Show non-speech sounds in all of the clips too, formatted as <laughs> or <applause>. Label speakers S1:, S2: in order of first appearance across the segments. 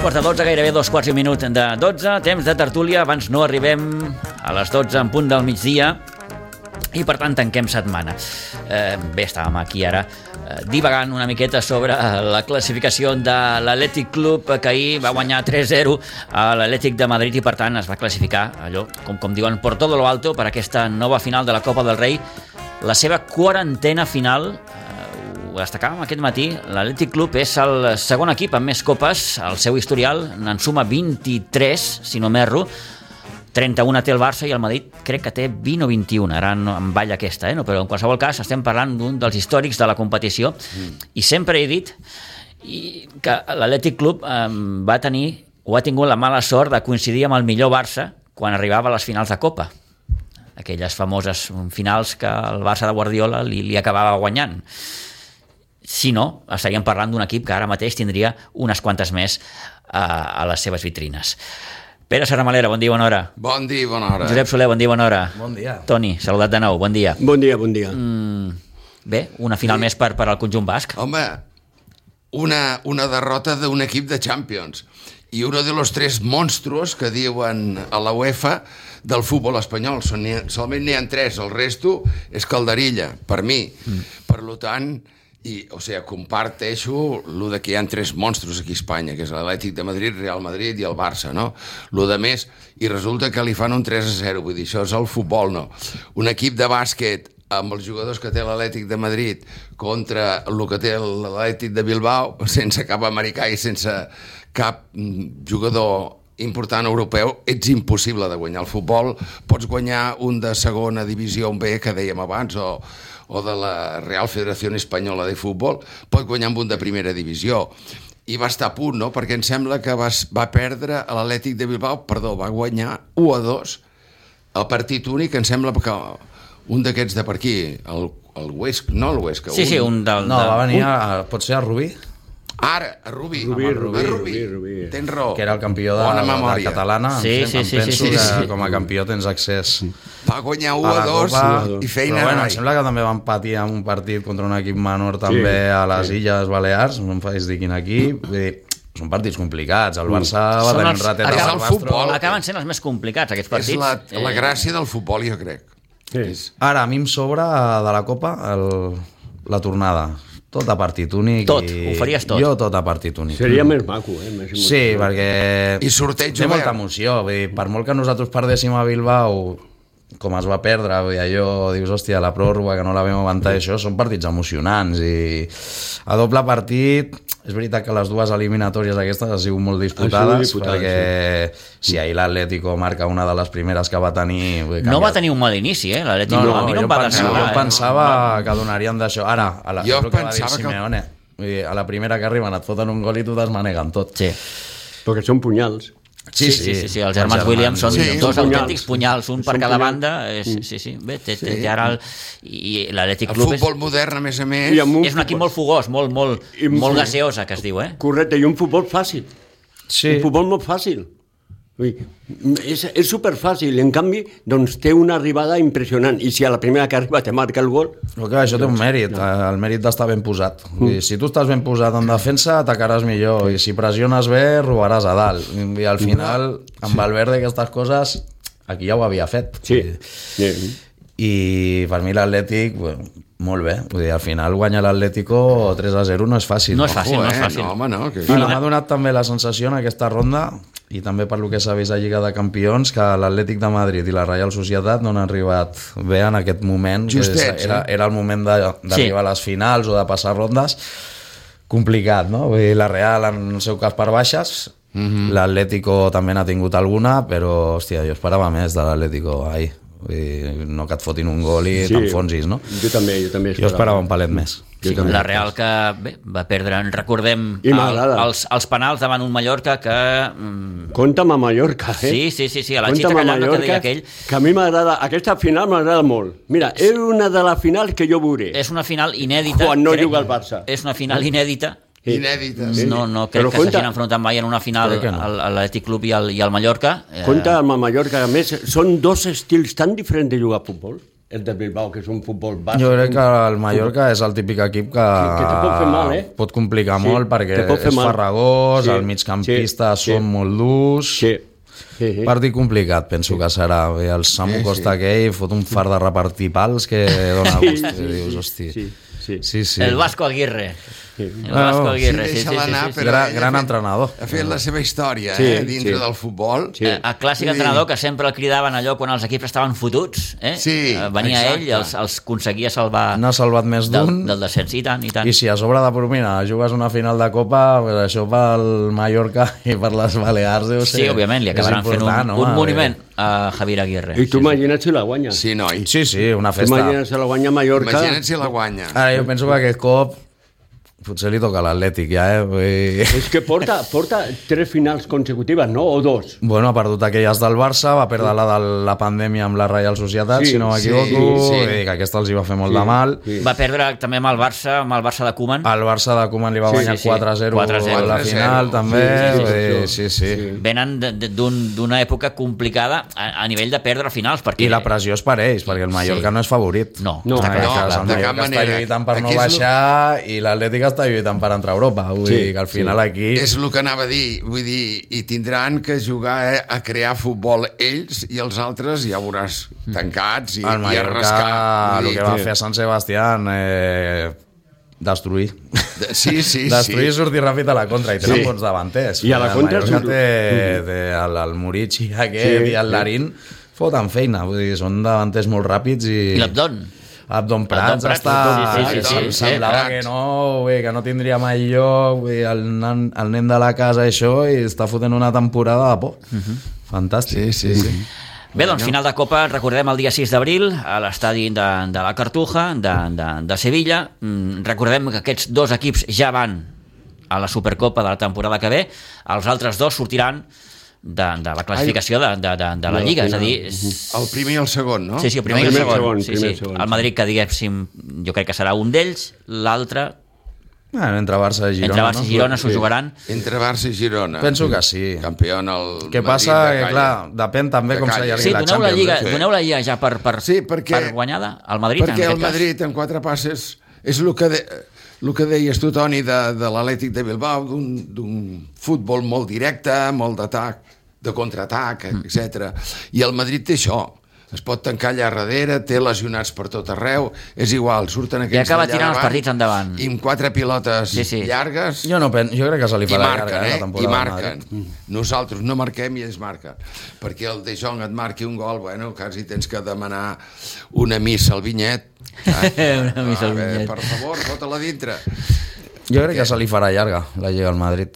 S1: quarts de 12, gairebé dos quarts i un minut de 12, temps de tertúlia, abans no arribem a les 12 en punt del migdia, i per tant tanquem setmana. Eh, bé, estàvem aquí ara eh, divagant una miqueta sobre eh, la classificació de l'Atlètic Club eh, que ahir va guanyar 3-0 a l'Atlètic de Madrid i per tant es va classificar allò, com, com diuen, por todo lo alto per aquesta nova final de la Copa del Rei la seva quarantena final eh, ho destacàvem aquest matí, l'Atlètic Club és el segon equip amb més copes, el seu historial en suma 23, si no m'erro, 31 té el Barça i el Madrid crec que té 20 o 21, ara no, em balla aquesta, eh? no, però en qualsevol cas estem parlant d'un dels històrics de la competició mm. i sempre he dit i que l'Atlètic Club eh, va tenir o ha tingut la mala sort de coincidir amb el millor Barça quan arribava a les finals de Copa aquelles famoses finals que el Barça de Guardiola li, li acabava guanyant si no, estaríem parlant d'un equip que ara mateix tindria unes quantes més eh, a, a les seves vitrines. Pere Serramalera, bon dia, bona hora.
S2: Bon dia, i bona hora.
S1: Josep Soler, bon dia, bona hora.
S3: Bon dia.
S1: Toni, saludat de nou, bon dia.
S4: Bon dia, bon dia. Mm.
S1: Bé, una final més per, per al conjunt basc.
S2: Home, una, una derrota d'un equip de Champions i uno de los tres monstruos que diuen a la UEFA del futbol espanyol. Són, n'hi ha- solament n'hi ha tres, el resto és calderilla, per mi. Mm. Per lo tant, i, o sigui, comparteixo lo de que hi ha tres monstruos aquí a Espanya, que és l'Atlètic de Madrid, Real Madrid i el Barça, no? Lo de més, i resulta que li fan un 3 a 0, vull dir, això és el futbol, no. Un equip de bàsquet amb els jugadors que té l'Atlètic de Madrid contra el que té l'Atlètic de Bilbao, <laughs> sense cap americà i sense cap mm, jugador important europeu, ets impossible de guanyar el futbol. Pots guanyar un de segona divisió, un B, que dèiem abans, o, o de la Real Federació Espanyola de Futbol, pot guanyar amb un de primera divisió. I va estar a punt, no? Perquè em sembla que va, va perdre a l'Atlètic de Bilbao, perdó, va guanyar 1 a 2 el partit únic, em sembla que un d'aquests de per aquí, el, el Huesca, no el Huesca,
S1: Sí, sí, un del...
S3: No,
S1: del-
S3: va venir, a, potser a Rubí,
S2: Ara, a Rubí.
S4: Rubí,
S2: Home,
S4: Rubí,
S2: a
S4: Rubí, Rubí.
S2: Tens raó.
S3: que era el campió de,
S2: Bona
S3: de la
S2: memòria.
S3: catalana. em
S1: Oh, Sí,
S3: sem-
S1: sí,
S3: em
S1: sí,
S3: penso
S1: sí,
S3: que
S1: sí.
S3: com a campió tens accés
S2: Va guanyar 1
S3: a
S2: a
S3: la
S2: 2
S3: Copa.
S2: i feina
S3: Però, bueno,
S2: rai.
S3: em sembla que també van patir en un partit contra un equip menor també sí, a les sí. Illes Balears, no em facis dir quin equip. Vull dir, són partits complicats. El Barça va
S1: Són
S3: tenir
S1: els-
S3: un ratet
S2: acaba
S3: al
S2: el
S3: Bastro.
S2: futbol.
S1: Acaben sent els més complicats, aquests
S2: És
S1: partits. Eh,
S2: la, la gràcia del futbol, jo crec.
S4: Sí.
S3: Ara, a mi em sobra eh, de la Copa el, la tornada. Tot a partit únic.
S1: Tot,
S3: i...
S1: ho faries tot.
S3: Jo tot a partit únic.
S4: Seria més maco, eh? Més
S3: Sí, perquè...
S2: I sorteig
S3: Té molta
S2: obert.
S3: emoció. Vull dir, per molt que nosaltres perdéssim a Bilbao, com es va perdre, vull dir, allò, dius, hòstia, la pròrroga, que no la vam aguantar, això, són partits emocionants. I a doble partit, és veritat que les dues eliminatòries aquestes han sigut molt disputades,
S4: disputades,
S3: perquè si ahir l'Atlético marca una de les primeres que va tenir... Vull dir,
S1: No va
S3: canviat-
S1: tenir un mal inici, eh? L'Atlètic
S3: No, no,
S1: a mi no
S3: jo,
S1: em va
S3: pensava,
S1: decepcionar.
S3: jo
S1: eh?
S3: pensava que donarien d'això. Ara, a la,
S2: Jo
S3: és el que va dir
S2: pensava que-
S3: Simeone. Vull dir, a la primera que arriben et foten un gol i tu desmaneguen tot.
S1: Sí.
S4: Perquè són punyals.
S1: Sí, sí, sí, sí, sí, els germans Williams són
S2: Sí,
S1: dos
S4: són
S1: autèntics punyals, un per
S4: Són
S1: cada
S4: punyals.
S1: banda. eh, Sí, sí, sí. Bé, té, té, té ara el... I l'Atlètic
S2: El
S1: Club és,
S2: futbol modern, a més a més...
S4: I amb
S1: és un equip molt fogós, molt, molt,
S4: I amb-
S1: molt gaseosa, que es diu, eh?
S4: Correcte, i un futbol fàcil.
S3: Sí.
S4: Un futbol molt fàcil. Vull dir, És, és superfàcil, en canvi, doncs té una arribada impressionant. I si a la primera que arriba te marca el gol,
S3: Però clar, això té un mèrit, eh, el mèrit d'estar ben posat. Mm. I si tu estàs ben posat en defensa, atacaràs millor, i si pressiones bé, robaràs a dalt. I al final, amb Valverde, aquestes coses, aquí ja ho havia fet.
S4: sí. sí.
S3: I per mi l'Atlètic, bueno, molt bé. Vull dir, al final guanyar l'Atlético 3 a 0 no és fàcil.
S1: No és fàcil, no és
S2: eh?
S1: fàcil.
S2: No, home, no, que...
S3: Ara, m'ha donat també la sensació en aquesta ronda i també per lo que s'ha vist a Lliga de Campions que l'Atlètic de Madrid i la Real Societat no han arribat bé en aquest moment que
S2: Justets,
S3: és- era,
S2: eh?
S3: era el moment de- d'arribar
S1: Sí.
S3: sí. a les finals o de passar rondes complicat, no? Vull dir, la Real en el seu cas per baixes Mhm. l'Atlético també n'ha tingut alguna però, hòstia, jo esperava més de l'Atlético ahir, Vull dir, no que et fotin un gol i sí. t'enfonsis, no?
S4: Jo també, jo també
S3: Jo esperava un palet més
S1: Sí, la Real que bé, va perdre, en recordem,
S4: I
S1: el-
S4: m'agrada.
S1: els, els penals davant un Mallorca que... mm,
S4: Compta'm a Mallorca, eh?
S1: Sí, sí, sí, sí, a la
S4: Compta'm
S1: Xita Callano que
S4: Mallorca,
S1: deia aquell.
S4: Que a mi m'agrada, aquesta final m'agrada molt. Mira, és una de les finals que jo veuré.
S1: És una final inèdita.
S4: Quan no juga el Barça.
S1: És una final inèdita.
S2: Inèdita.
S4: Sí.
S1: No, no crec
S4: Però
S1: que s'hagin
S4: compte-
S1: enfrontat mai en una final
S3: Crec que no.
S1: al no. l'Atlètic Club i al, i al Mallorca. Eh,
S4: Compte amb el Mallorca, a més, són dos estils tan diferents de jugar a futbol. el de Bilbao, que és un futbol bàsic.
S3: Jo crec que el Mallorca és el típic equip que,
S4: Ah, Que- que te pot fer mal, eh?
S3: pot complicar
S4: Sí,
S3: molt perquè
S4: te pot fer
S3: és
S4: mal.
S3: farragós,
S4: Sí,
S3: el migcampista
S4: sí,
S3: són
S4: sí.
S3: molt durs...
S4: Sí. sí, sí.
S3: Partit complicat, penso que serà. Bé, el Samu
S2: Sí, sí.
S3: Costa aquell fot un far de repartir pals que dona
S4: <laughs> Sí,
S3: gust.
S4: sí,
S3: Sí, dius,
S4: sí,
S3: hosti.
S4: sí, sí.
S3: sí, sí.
S1: El Vasco Aguirre. El
S3: Ah,
S1: Vasco
S3: oh.
S1: Aguirre, sí, sí, sí.
S2: deixa-la
S1: sí,
S2: anar,
S1: sí.
S2: però
S3: Gran-
S2: ell ha
S3: gran
S2: fet-
S3: entrenador.
S2: Ha fet la seva història,
S4: Sí,
S2: eh, dintre
S4: sí.
S2: del futbol.
S4: Sí.
S1: Eh, El clàssic
S2: Vull dir-
S1: entrenador que sempre el cridaven allò quan els equips estaven fotuts, eh?
S2: Sí,
S1: Eh, Venia
S2: exacte.
S1: ell, els, els aconseguia salvar
S3: N'ha salvat més
S1: del,
S3: d'un.
S1: del descens. I tant, i tant.
S3: I si a sobre de promina jugues una final de Copa, pues això pel Mallorca i per les Balears deu ser...
S1: Sí, òbviament, li
S3: és
S1: acabaran fent un,
S3: important, Eh,
S1: un
S3: home,
S1: monument a Javier Aguirre.
S4: I tu imagina't si la guanya. Sí,
S2: Sí, noi.
S3: bé. Sí, sí, una festa.
S4: imagina't si la guanya Mallorca.
S2: Imagina't si la guanya.
S3: Ara, jo penso que aquest cop potser li toca a l'Atlètic, ja, eh? Vull... dir- <laughs>
S4: És que porta, porta tres finals consecutives, no? O dos.
S3: Bueno, ha perdut aquelles del Barça, va perdre la de la pandèmia amb la Reial Societat,
S4: Sí,
S3: sí, si no
S2: sí,
S3: m'equivoco,
S2: sí.
S3: sí, sí. que aquesta els hi va fer molt sí, de mal.
S4: sí.
S1: Va perdre també amb el Barça, amb el Barça de Koeman.
S3: El Barça de Koeman li va
S1: Sí,
S3: guanyar
S1: sí, sí.
S3: 4-0 a
S1: 4-0.
S3: la final,
S2: 4-0.
S3: també.
S4: Sí, sí, sí,
S3: vull dir,
S4: sí.
S3: Sí, sí. sí.
S1: Venen de- de- d'un- d'una època complicada a, a nivell de perdre finals, perquè...
S3: I la pressió és per ells, perquè el Mallorca
S1: Sí.
S3: no és favorit.
S1: No,
S4: No,
S1: està clar,
S2: no,
S1: està clar.
S3: el
S2: de cap
S3: Mallorca està
S2: manera.
S3: lluitant per no
S2: Aquí és lo-
S3: baixar i l'Atlètic està lluitant per entrar a Europa. Vull
S4: Sí,
S3: dir que al final aquí...
S2: És el que anava a dir, vull dir, i tindran que jugar eh, a crear futbol ells i els altres ja veuràs tancats i,
S3: El
S2: i a rascar.
S3: Mm. Mallorca,
S2: Vull
S3: el
S2: dir,
S3: que va fer a Sant Sebastián... Eh, destruir.
S2: de- Sí, sí,
S3: destruir i
S2: sí.
S3: sortir ràpid a la contra i tenen
S4: Sí.
S3: bons davanters.
S4: I a la
S3: El
S4: contra és
S3: Mallorca
S4: un-
S3: té, té el, el Murici aquest
S4: Sí,
S3: i el
S4: sí.
S3: Larín foten feina, vull dir, són davanters molt ràpids i...
S1: I l'Abdon.
S3: Abdon
S1: Abdon
S3: Prats
S1: Prats,
S3: està...
S1: sí, sí, sí, sí,
S3: em
S1: sí,
S3: semblava
S2: Prats.
S3: que no, bé, que no tindria mai lloc, bé, el, nan, el nen de la casa això, i està fotent una temporada de por. Fantàstic.
S2: sí, sí.
S1: Bé, doncs, final de Copa, recordem el dia 6 d'abril, a l'estadi de, de la Cartuja, de, de, de Sevilla. Mm, recordem que aquests dos equips ja van a la Supercopa de la temporada que ve, els altres dos sortiran de, de la classificació de, de, de, de la
S4: De la
S1: Lliga, és a dir...
S4: final.
S1: s-
S2: El primer i el segon, no?
S1: Sí, sí, el primer, i el
S4: Primer,
S1: segon.
S4: segon,
S1: sí,
S4: primer,
S1: sí.
S4: segon.
S1: El Madrid, que diguéssim, jo crec que serà un d'ells, l'altre,
S3: Bueno, entre Barça i Girona.
S1: entre Barça i
S3: no?
S1: Girona, s'ho jugaran.
S2: Entre Barça i Girona.
S3: Penso que sí.
S2: Campió en el
S3: Que
S2: Madrid
S3: passa,
S2: de
S3: que
S2: Calla.
S3: clar, depèn també
S2: De
S3: com
S2: calle.
S3: s'allargui
S1: Sí,
S3: la
S1: doneu la,
S3: Champions. eh?
S1: lliga,
S2: sí.
S1: doneu la Lliga ja per, per,
S2: Sí, perquè-
S1: per guanyada, al Madrid, en
S2: Perquè el
S1: aquest cas.
S2: Madrid, en quatre passes, és el que, de, el que deies tu, Toni, de, de l'Atlètic de Bilbao, d'un d'un futbol molt directe, molt d'atac, de contraatac,
S1: Mm.
S2: etc. I el Madrid té això. Es pot tancar allà darrere, té lesionats per tot arreu, és igual, surten aquests
S1: acaba
S2: d'allà
S1: tirant els
S2: davant
S1: partits endavant.
S2: I amb quatre pilotes
S1: Sí, sí.
S2: llargues
S3: Jo, no, pen- jo crec que se li
S2: i
S3: farà
S2: marquen,
S3: llarga, eh, la
S2: eh? I
S3: temporada. del Madrid.
S2: marquen.
S1: Mm.
S2: Nosaltres no marquem i ells marquen. Perquè el De Jong et marqui un gol, bueno, quasi tens que demanar una missa al vinyet.
S1: <laughs>
S2: Eh?
S1: Una missa al
S2: A veure,
S1: vinyet.
S2: Per favor, fota-la dintre.
S3: Jo crec que se li farà llarga la Lliga al Madrid.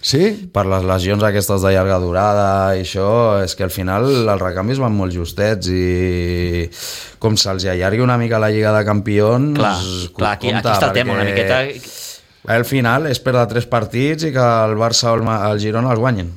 S2: Sí?
S3: Per les lesions aquestes de llarga durada i això, és que al final els recanvis van molt justets i com se'ls allargui una mica la Lliga de Campions...
S1: Clar, clar, aquí- aquí
S3: compte,
S1: està el tema, una
S3: perquè
S1: miqueta.
S3: Al final és perdre tres partits i que el Barça o el, Ma- el Girona els guanyin.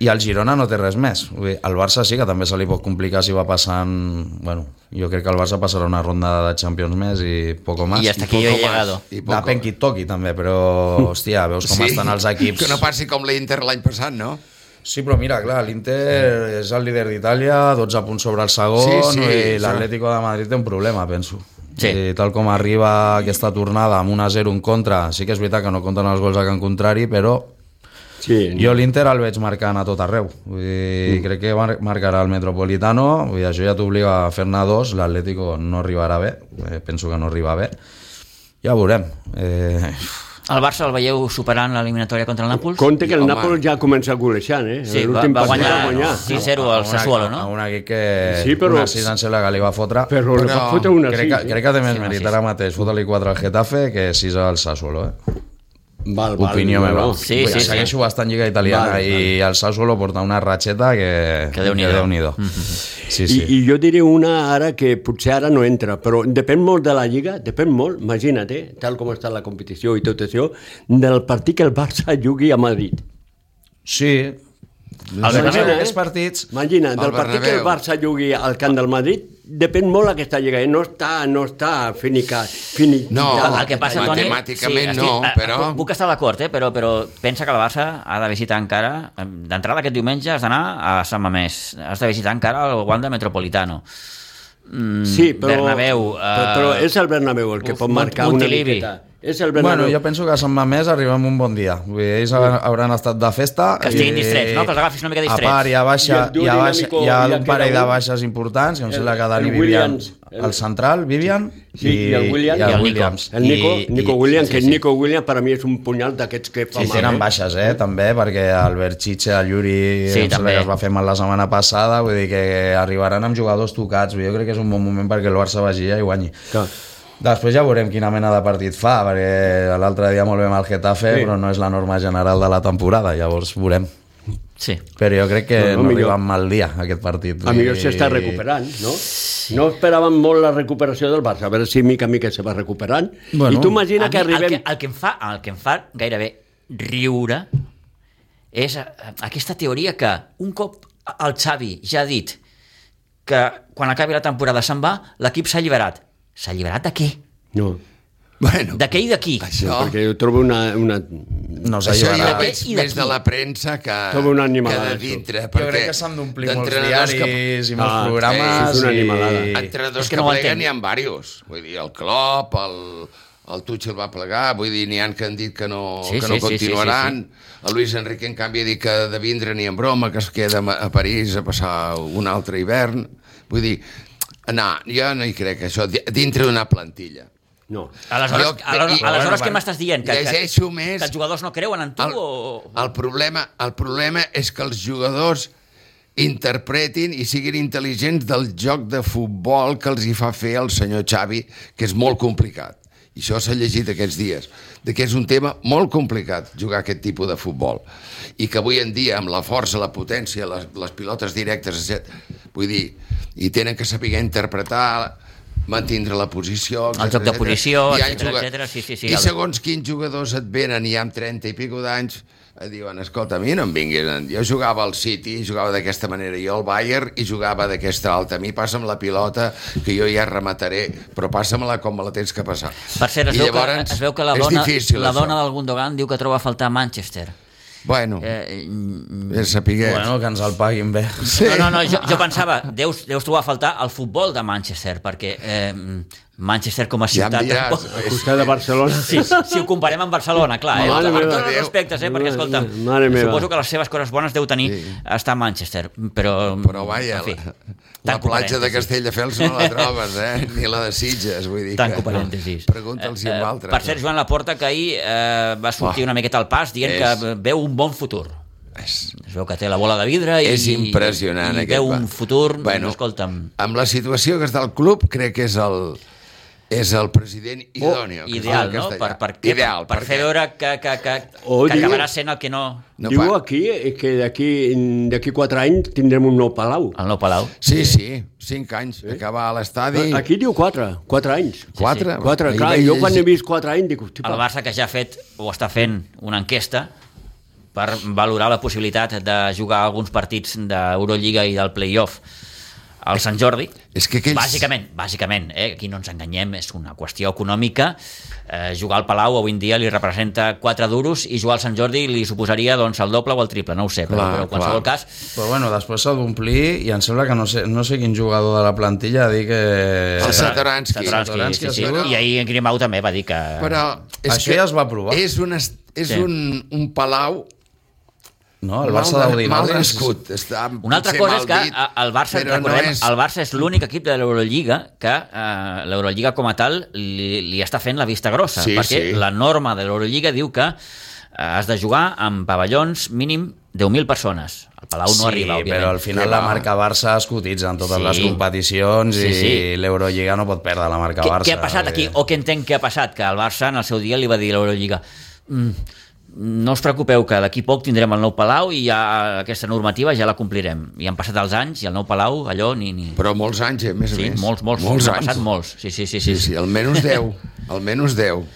S3: I el Girona no té res més. Vull dir, El Barça sí que també se li pot complicar si va passant... Bueno, jo crec que el Barça passarà una ronda de Champions més i poco más.
S1: I hasta aquí jo he
S2: poco más.
S1: llegado.
S2: I poco.
S3: Depèn qui et toqui, també, però, hòstia, veus com estan els equips.
S2: Que no passi com l'Inter l'any passat, no?
S3: Sí, però mira, clar, l'Inter és el líder d'Itàlia, 12 punts sobre el segon,
S2: Sí, sí,
S3: i
S2: sí.
S3: l'Atlético de Madrid té un problema, penso.
S1: Sí.
S3: I tal com arriba aquesta tornada amb un a 0 en contra, sí que és veritat que no compten els gols a can contrari, però
S4: Sí.
S3: jo l'Inter el veig marcant a tot arreu. Vull dir, mm. Crec que mar marcarà el Metropolitano, vull dir, això ja t'obliga a fer-ne dos, l'Atlético no arribarà bé, eh, penso que no arriba bé. Ja veurem. Eh,
S1: El Barça el veieu superant l'eliminatòria contra el Nàpols?
S4: Compte que el
S2: Home.
S4: Nàpols ja comença golejant, eh?
S1: Sí, va,
S4: L'últim
S1: va
S4: partit
S1: guanyar,
S4: va guanyar.
S1: sí. 6-0 al
S3: A una-
S1: Sassuolo,
S3: A
S1: no?
S3: un equip que
S4: Sí, però-
S3: una assist em sembla que li va fotre.
S4: Però, li va
S2: Però
S4: fotre una eh?
S3: crec, que,
S4: sí.
S3: crec que té més
S1: Sí, una
S3: mèrit
S1: sis.
S3: ara mateix fotre-li 4 al Getafe que 6 al Sassuolo, eh?
S4: Val, val,
S3: Opinió
S4: no,
S3: meva.
S4: no.
S1: Sí,
S3: Vull dir,
S1: sí,
S3: Segueixo bastant lliga italiana
S4: Vale,
S3: i el Sassuolo porta una ratxeta que...
S1: Que Déu-n'hi-do. Mm-hmm.
S3: Déu-n'hi-do. Sí, sí.
S4: I, I jo diré una ara que potser ara no entra, però depèn molt de la Lliga, depèn molt, imagina't, eh, tal com està la competició i tot això, del partit que el Barça jugui a Madrid.
S3: sí.
S4: Doncs
S1: El Bernabéu,
S3: aquests partits...
S4: Imagina, del
S2: Al
S4: partit que el
S2: Bernabéu.
S4: Barça jugui al camp del Madrid, depèn molt aquesta Lliga, eh? no està, no està finica, finiquitada.
S2: No,
S1: el que passa, Toni...
S2: Ah, matemàticament no,
S1: eh,
S2: però-
S1: puc- Puc estar d'acord, eh? però, però pensa que el Barça ha de visitar encara... eh, D'entrada aquest diumenge has d'anar a Sant Mamés. Has de visitar encara el Wanda Metropolitano. mm,
S4: Sí, però,
S1: Bernabéu... eh,
S4: però, però és el Bernabéu el que
S1: Uf,
S4: pot marcar
S1: Monti-
S4: una
S1: Montilivi.
S4: miqueta. És el Bernabéu.
S3: Bueno, jo penso que a Sant Mamés arribem un bon dia. Vull dir, ells ha- hauran estat de festa...
S1: Que estiguin distrets, no? Que els agafis una mica distrets.
S3: A part, hi ha,
S4: I
S3: baixa,
S4: el
S3: hi ha, baixa,
S4: Dinamico
S3: hi ha
S4: ja
S3: un
S4: queda
S3: parell de
S4: un.
S3: baixes importants, que em
S4: El-
S3: sembla que Dani
S4: el
S3: Vivian,
S4: Williams, el-
S3: el central, Vivian,
S4: Sí, i el Williams.
S3: i
S4: I
S3: el
S1: el Nico.
S3: Williams.
S4: El Nico,
S3: I-
S4: I, Nico
S3: i-
S4: William,
S3: sí,
S4: que
S3: sí, sí.
S4: Nico William per a mi és un punyal d'aquests que fa
S3: Sí,
S4: mal.
S3: tenen
S4: eh?
S3: baixes, eh, també, perquè Albert Chiche, el Yuri,
S1: Sí,
S3: sí,
S1: també.
S3: que es va fer mal la setmana passada, vull dir que arribaran amb jugadors tocats, jo crec que és un bon moment perquè el Barça vagi allà i guanyi.
S4: Clar.
S3: Després ja veurem quina mena de partit fa, perquè l'altre dia molt bé amb el Getafe,
S4: Sí.
S3: sí. però no és la norma general de la temporada, llavors veurem.
S1: Sí.
S3: Però jo crec que
S4: No, no,
S3: no, no
S4: millor.
S3: arriba amb mal dia, aquest partit.
S4: A millor s'està recuperant, no? No esperaven molt la recuperació del Barça, a veure si mica en mica se va recuperant.
S3: Bueno.
S4: I tu imagina que
S1: A mi
S4: arribem...
S1: El que, el, que em fa, el que em fa gairebé riure és eh, aquesta teoria que un cop el Xavi ja ha dit que quan acabi la temporada se'n va, l'equip s'ha alliberat. S'ha alliberat de què?
S4: No,
S2: Bueno,
S1: De què i de qui?
S4: no,
S2: això,
S4: perquè jo trobo una... una...
S3: No s'ha
S2: això ja
S1: de
S3: alliberat.
S2: veig
S1: què i de
S2: més
S1: qui?
S2: de la premsa que,
S4: Som una
S2: que
S4: animalada,
S2: de
S4: això.
S2: dintre.
S3: Jo crec que s'han d'omplir molts diaris
S2: d'entrenadors
S3: i molts
S4: Ah,
S3: programes.
S4: sí, és una animalada.
S3: I...
S4: Sí.
S2: Entrenadors
S1: És que
S2: que,
S1: no
S2: no
S1: ho entenc.
S2: pleguen n'hi ha diversos. Vull dir, el Klopp, el, el Tuchel va plegar, vull dir, n'hi ha que han dit que no,
S1: Sí,
S2: que
S1: sí,
S2: no
S1: sí, sí,
S2: continuaran. El Luis Enrique, en canvi, ha dit que de vindre ni en broma, que es queda a a París a passar un altre hivern. Vull dir, no, jo no hi crec, això, di- dintre d'una plantilla.
S4: no.
S1: Aleshores,
S2: Jo-
S1: aleshores,
S2: i-
S1: aleshores què
S3: bueno,
S1: m'estàs dient? Que, que,
S2: llegeixo més-
S1: que els jugadors no creuen en tu?
S2: El,
S1: o...
S2: el, problema, el problema és que els jugadors interpretin i siguin intel·ligents del joc de futbol que els hi fa fer el senyor Xavi, que és molt complicat. I això s'ha llegit aquests dies, de que és un tema molt complicat jugar aquest tipus de futbol. I que avui en dia, amb la força, la potència, les, les pilotes directes, etc. Vull dir, i tenen que saber interpretar, mantindre la posició...
S1: El joc de
S2: etcètera.
S1: posició,
S2: Hi ha
S1: etcètera,
S2: jugadors-
S1: etcètera, sí, sí, sí,
S2: I
S1: el-
S2: segons segons quins jugadors et venen i amb 30 i pico d'anys et diuen, escolta, a mi no em vinguin. Jo jugava al City, jugava d'aquesta manera, jo al Bayern i jugava d'aquesta altra. A mi passa'm la pilota, que jo ja remataré, però passa-me-la com me la tens que passar.
S1: Per cert, es,
S2: I
S1: veu,
S2: llavors,
S1: que, es veu que la
S2: és
S1: dona,
S2: difícil,
S1: la
S2: això.
S1: dona del Gundogan diu que troba a faltar Manchester.
S2: Bueno, eh,
S1: Eh, mm,
S2: per sapiguer.
S3: Bueno, que ens el paguin bé.
S2: Sí.
S1: No, no, no, jo, jo pensava, deus, deus trobar a faltar el futbol de Manchester, perquè eh, Manchester com a
S2: ja em
S1: ciutat...
S2: diràs.
S1: tampoc-
S4: Al costat de Barcelona.
S1: Sí, sí, si ho comparem amb Barcelona, clar, eh?
S2: Mare
S1: amb
S2: meva.
S1: tots els respectes, eh? Perquè, escolta,
S4: Mare meva.
S1: suposo que les seves coses bones deu tenir sí. estar a Manchester, però...
S2: Però vaja,
S1: en fi,
S2: la, la
S1: tanco
S2: platja de
S1: parèntesis.
S2: Castelldefels no la trobes, eh? Ni la de Sitges, vull dir
S1: Tanco
S2: que...
S1: parèntesis.
S2: Pregunta'ls
S1: Eh,
S2: amb altres.
S1: Per cert, Joan Laporta, que ahir eh, va sortir
S2: Oh,
S1: una miqueta al pas dient
S2: és-
S1: que veu un bon futur.
S2: És...
S1: Es veu que té la bola de vidre i,
S2: és impressionant
S1: i, i
S2: aquest
S1: veu un
S2: pa.
S1: futur, bueno, escolta'm,
S2: amb la situació que està al club crec que és el és el president idòneo que es
S1: Oh,
S2: diu
S1: ideal,
S2: en
S1: no?
S2: castellà.
S1: Per, per, què?
S2: ideal,
S1: per, per fer veure que, que, que,
S4: O
S1: que
S4: digui-
S1: acabarà sent el que no...
S2: no
S4: Diu
S2: fa-
S4: aquí eh, que d'aquí d'aquí quatre anys tindrem un nou palau.
S1: El nou Palau.
S2: sí, sí, 5 anys eh? acabar a l'estadi
S4: Aquí diu quatre, quatre anys.
S2: 4
S4: Quatre, clar, jo quan he vist quatre anys dic, hosti,
S1: El Barça que ja ha fet o està fent una enquesta per valorar la possibilitat de jugar alguns partits d'Eurolliga i del play-off al Sant Jordi.
S2: és que aquells...
S1: Bàsicament, bàsicament, eh? aquí no ens enganyem, és una qüestió econòmica. Eh, jugar al Palau avui en dia li representa 4 duros i jugar al Sant Jordi li suposaria doncs, el doble o el triple, no ho sé, però,
S2: Clar,
S1: però en qualsevol
S2: clar.
S1: cas...
S3: Però bueno, després s'ha d'omplir i em sembla que no sé, no sé quin jugador de la plantilla ha dit que...
S2: El Satoranski.
S1: Satoranski, sí, sí.
S3: Satoranski,
S1: I ahir en Grimau també va dir que...
S2: però és
S3: Això ja es va provar.
S2: és un, est- és
S1: Sí.
S2: sí. un, un palau
S4: Oh,
S3: No, el Barça
S2: mal,
S3: d'Audinari...
S2: mal
S3: és-
S2: nascut està
S1: Una altra
S2: potser
S1: cosa és
S2: mal
S1: que
S2: dit,
S1: a- el Barça,
S2: però
S1: recordem,
S2: no és...
S1: el Barça és l'únic equip de l'Eurolliga que eh, l'Eurolliga com a tal li, li està fent la vista grossa,
S2: Sí,
S1: perquè
S2: sí.
S1: la norma de l'Eurolliga diu que eh, has de jugar amb pavellons mínim 10.000 persones. El Palau no arriba, òbviament.
S3: però al final
S2: Sí,
S3: la
S2: va.
S3: marca Barça es cotitza en totes
S1: Sí.
S3: sí. les competicions
S1: Sí,
S3: sí, sí.
S1: sí.
S3: i l'Eurolliga no pot perdre la marca
S1: Què,
S3: Barça.
S1: què ha passat aquí? O què entenc que ha passat? Que el Barça en el seu dia li va dir a l'Eurolliga mm, no us preocupeu que d'aquí poc tindrem el nou Palau i ja aquesta normativa ja la complirem. I han passat els anys i el nou Palau allò ni... ni...
S2: però molts anys, eh, a més a
S1: Sí,
S2: més
S1: molts, molts.
S2: molts
S1: N'ha
S2: anys.
S1: passat molts. Sí, sí, sí. sí.
S2: Sí, sí,
S1: <laughs>
S2: almenys 10. Almenys 10.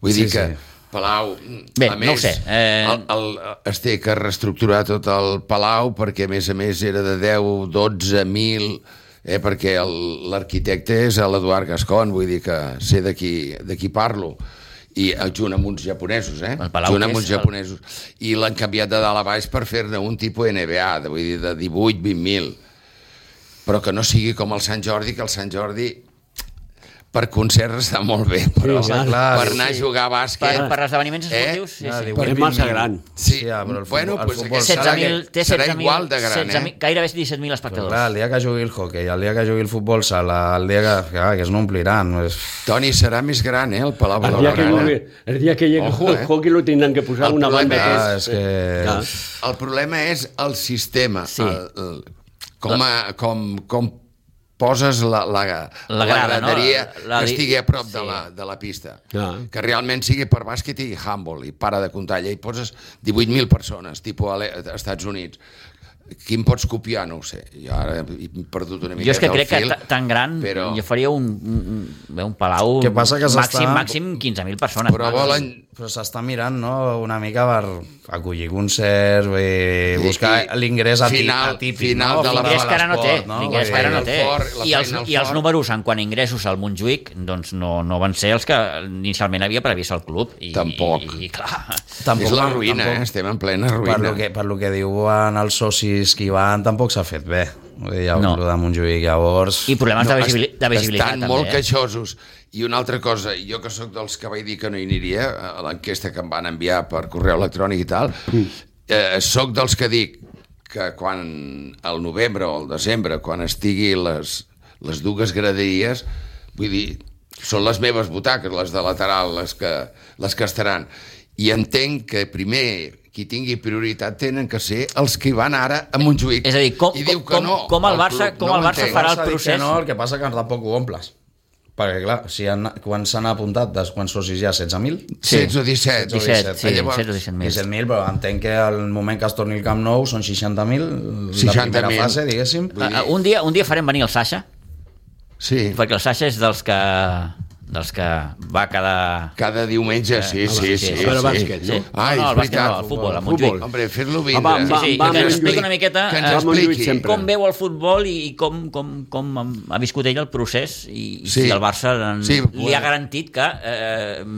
S2: Vull
S3: Sí,
S2: dir que
S3: sí.
S2: Palau...
S1: Bé,
S2: a
S1: no
S2: més,
S1: ho sé, eh,
S2: El, el, es té que reestructurar tot el Palau perquè, a més a més, era de 10, 12, 1.000... Eh, perquè el- l'arquitecte és l'Eduard Gascon, vull dir que sé de qui, de qui parlo i eh, junt amb uns japonesos, eh?
S1: El Palau
S2: junt
S1: que
S2: amb
S1: és
S2: uns
S1: el-
S2: japonesos. I l'han canviat de dalt a baix per fer-ne un tipus NBA, de, vull dir, de 18-20.000 però que no sigui com el Sant Jordi, que el Sant Jordi per concerts està molt bé, però
S4: Sí,
S2: sí,
S4: clar.
S2: clar, per anar a jugar a
S1: Per,
S2: bàsquet...
S1: per esdeveniments
S2: Eh?
S1: esportius, sí,
S3: Ja,
S1: sí.
S3: diu,
S4: És massa gran.
S2: Sí,
S3: Sí, ja, però el
S2: bueno,
S3: futbol- el
S2: pues
S3: futbol
S2: aquest serà,
S1: 16.000, té 16.000,
S2: serà igual de gran,
S1: 16.000,
S2: eh?
S1: gairebé 17.000
S3: Però,
S1: espectadors.
S3: clar, el dia que jugui el hockey, el dia que jugui el futbol sala, el dia que, clar, que es no ompliran... És...
S2: Toni, serà més gran, eh, el Palau
S4: El dia que,
S2: Blaugrana.
S4: llegui, el dia que llegui
S2: Ojo,
S4: Ojo,
S2: eh?
S4: el hockey lo tindran que posar
S2: El
S4: una
S2: problema
S4: banda.
S3: Ah,
S4: que- Ah.
S3: és que...
S4: Clar.
S2: El problema és el sistema.
S1: Sí.
S2: El, el, com, a, com, com poses la, la, la,
S1: La grada, no?
S2: graderia
S1: La- la-
S2: que estigui a prop
S1: sí.
S2: sí. de, la, de la pista.
S4: Clar.
S2: Que realment sigui per bàsquet i handball, i para de comptar. Allà hi poses 18.000 persones, tipus a l'E- a Estats Units. Quin pots copiar? No ho sé. Jo ara he perdut una mica
S1: Jo és que crec que
S2: fil,
S1: ta- tan gran, però...
S2: Però,
S1: jo faria un, un, un- bé, un palau
S3: Què passa que
S1: màxim,
S3: s'està-
S1: màxim 15.000 persones.
S2: però volen...
S3: Però s'està mirant, no?, una mica per acollir concerts, vull dir, buscar
S2: I- i
S3: l'ingrés ati-
S2: final-
S3: atípic,
S2: final
S3: no?
S2: de la-
S1: L'ingrés que ara no té,
S3: l'esport,
S1: l'ingrés
S3: Vull
S1: que ara
S3: dir,
S1: no té.
S2: El fort, la
S1: I els,
S2: feina al
S1: I els
S2: fort.
S1: números en quant a ingressos al Montjuïc doncs no, no van ser els que inicialment havia previst el club. I,
S2: Tampoc.
S1: I, i clar,
S3: Tampoc,
S2: és la
S3: tampoc-
S2: ruïna, eh? estem en plena ruïna.
S3: Per lo, que, per lo que diuen els socis que hi van, tampoc s'ha fet bé. Vull dir,
S1: No.
S3: no. de Montjuïc, llavors...
S1: i problemes no, de, visibili
S2: est-
S1: de visibilitat.
S2: Estan
S1: també,
S2: molt
S1: eh?
S2: queixosos. I una altra cosa, jo que sóc dels que vaig dir que no hi aniria, a l'enquesta que em van enviar per correu electrònic i tal, eh, sóc dels que dic que quan al novembre o al desembre, quan estigui les, les dues graderies, vull dir, són les meves butaques, les de lateral, les que, les que estaran. I entenc que primer qui tingui prioritat tenen que ser els que hi van ara a Montjuïc.
S1: És a dir, com-
S2: I diu que
S1: com-
S2: no,
S1: com el Barça-
S2: club
S1: com
S2: no
S1: el
S2: ho
S1: Barça
S2: entén.
S1: farà el
S3: S'ha dit que
S1: procés.
S3: No, el que passa que tampoc ho omples. Perquè, clar, si han, quan s'han apuntat, des, quan socis hi ha 16.000?
S1: Sí.
S2: 16 o 17.
S1: 17, sí,
S2: Ah, llavors-
S1: 17 o 17.000.
S3: 17.000, però entenc que al moment que es torni el Camp Nou són 60.000, la primera
S2: 60.000.
S3: fase, diguéssim.
S2: Vull dir-
S1: Ah, ah, Un dia, un dia farem venir el Sasha,
S2: Sí,
S1: perquè el Sasha és dels que, dels que va quedar...
S2: cada diumenge, sí, sí, sí.
S1: sí,
S2: sí,
S1: però
S4: bàsquet, no?
S2: Ah,
S1: no,
S2: és
S1: no, el bàsquet
S2: veritat.
S1: no, el futbol, el
S4: Futbol.
S1: Montjuïc.
S2: Hombre, fer-lo
S4: Ah, va,
S2: vindre.
S4: va,
S1: Sí, que
S4: va,
S1: ens
S4: Montjuïc.
S1: expliqui una miqueta
S2: Que ens
S1: eh,
S4: expliqui.
S2: expliqui.
S4: sempre.
S1: com veu el futbol i, i com, com, com ha viscut ell el procés i, sí.
S2: Sí.
S1: si el Barça en,
S2: Sí,
S1: sí, li
S2: bueno.
S1: ha garantit que eh,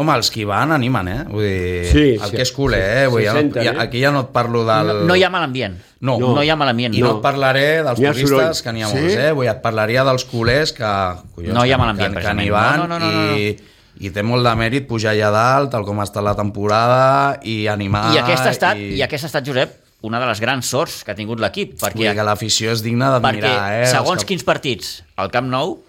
S3: Home, els que hi van animen, eh? Vull dir,
S4: Sí,
S3: el
S4: sí.
S3: que és culer,
S4: Sí,
S3: eh? Vull dir, ja no-
S4: 60,
S3: ja,
S4: eh?
S3: aquí ja no et parlo del...
S1: no, no hi ha mal ambient.
S3: No.
S1: no, hi ha mal ambient.
S3: I no, et parlaré dels
S4: Hi ha
S3: turistes,
S4: soroll.
S3: que n'hi ha
S2: Sí?
S3: molts, eh? Vull, dir, et parlaria dels culers que...
S1: No hi ha
S3: que-
S1: mal ambient,
S3: que, que
S1: precisament.
S3: n'hi van
S1: No, no, no, no,
S3: i, i té molt de mèrit pujar allà dalt, tal com ha estat la temporada, i animar...
S1: I aquesta ha estat, i... i aquesta ha estat Josep, una de les grans sorts que ha tingut l'equip,
S3: Vull dir
S1: perquè,
S3: que l'afició és digna
S1: perquè
S3: d'admirar, eh? Els
S1: segons
S3: que-
S1: quins partits, al Camp Nou,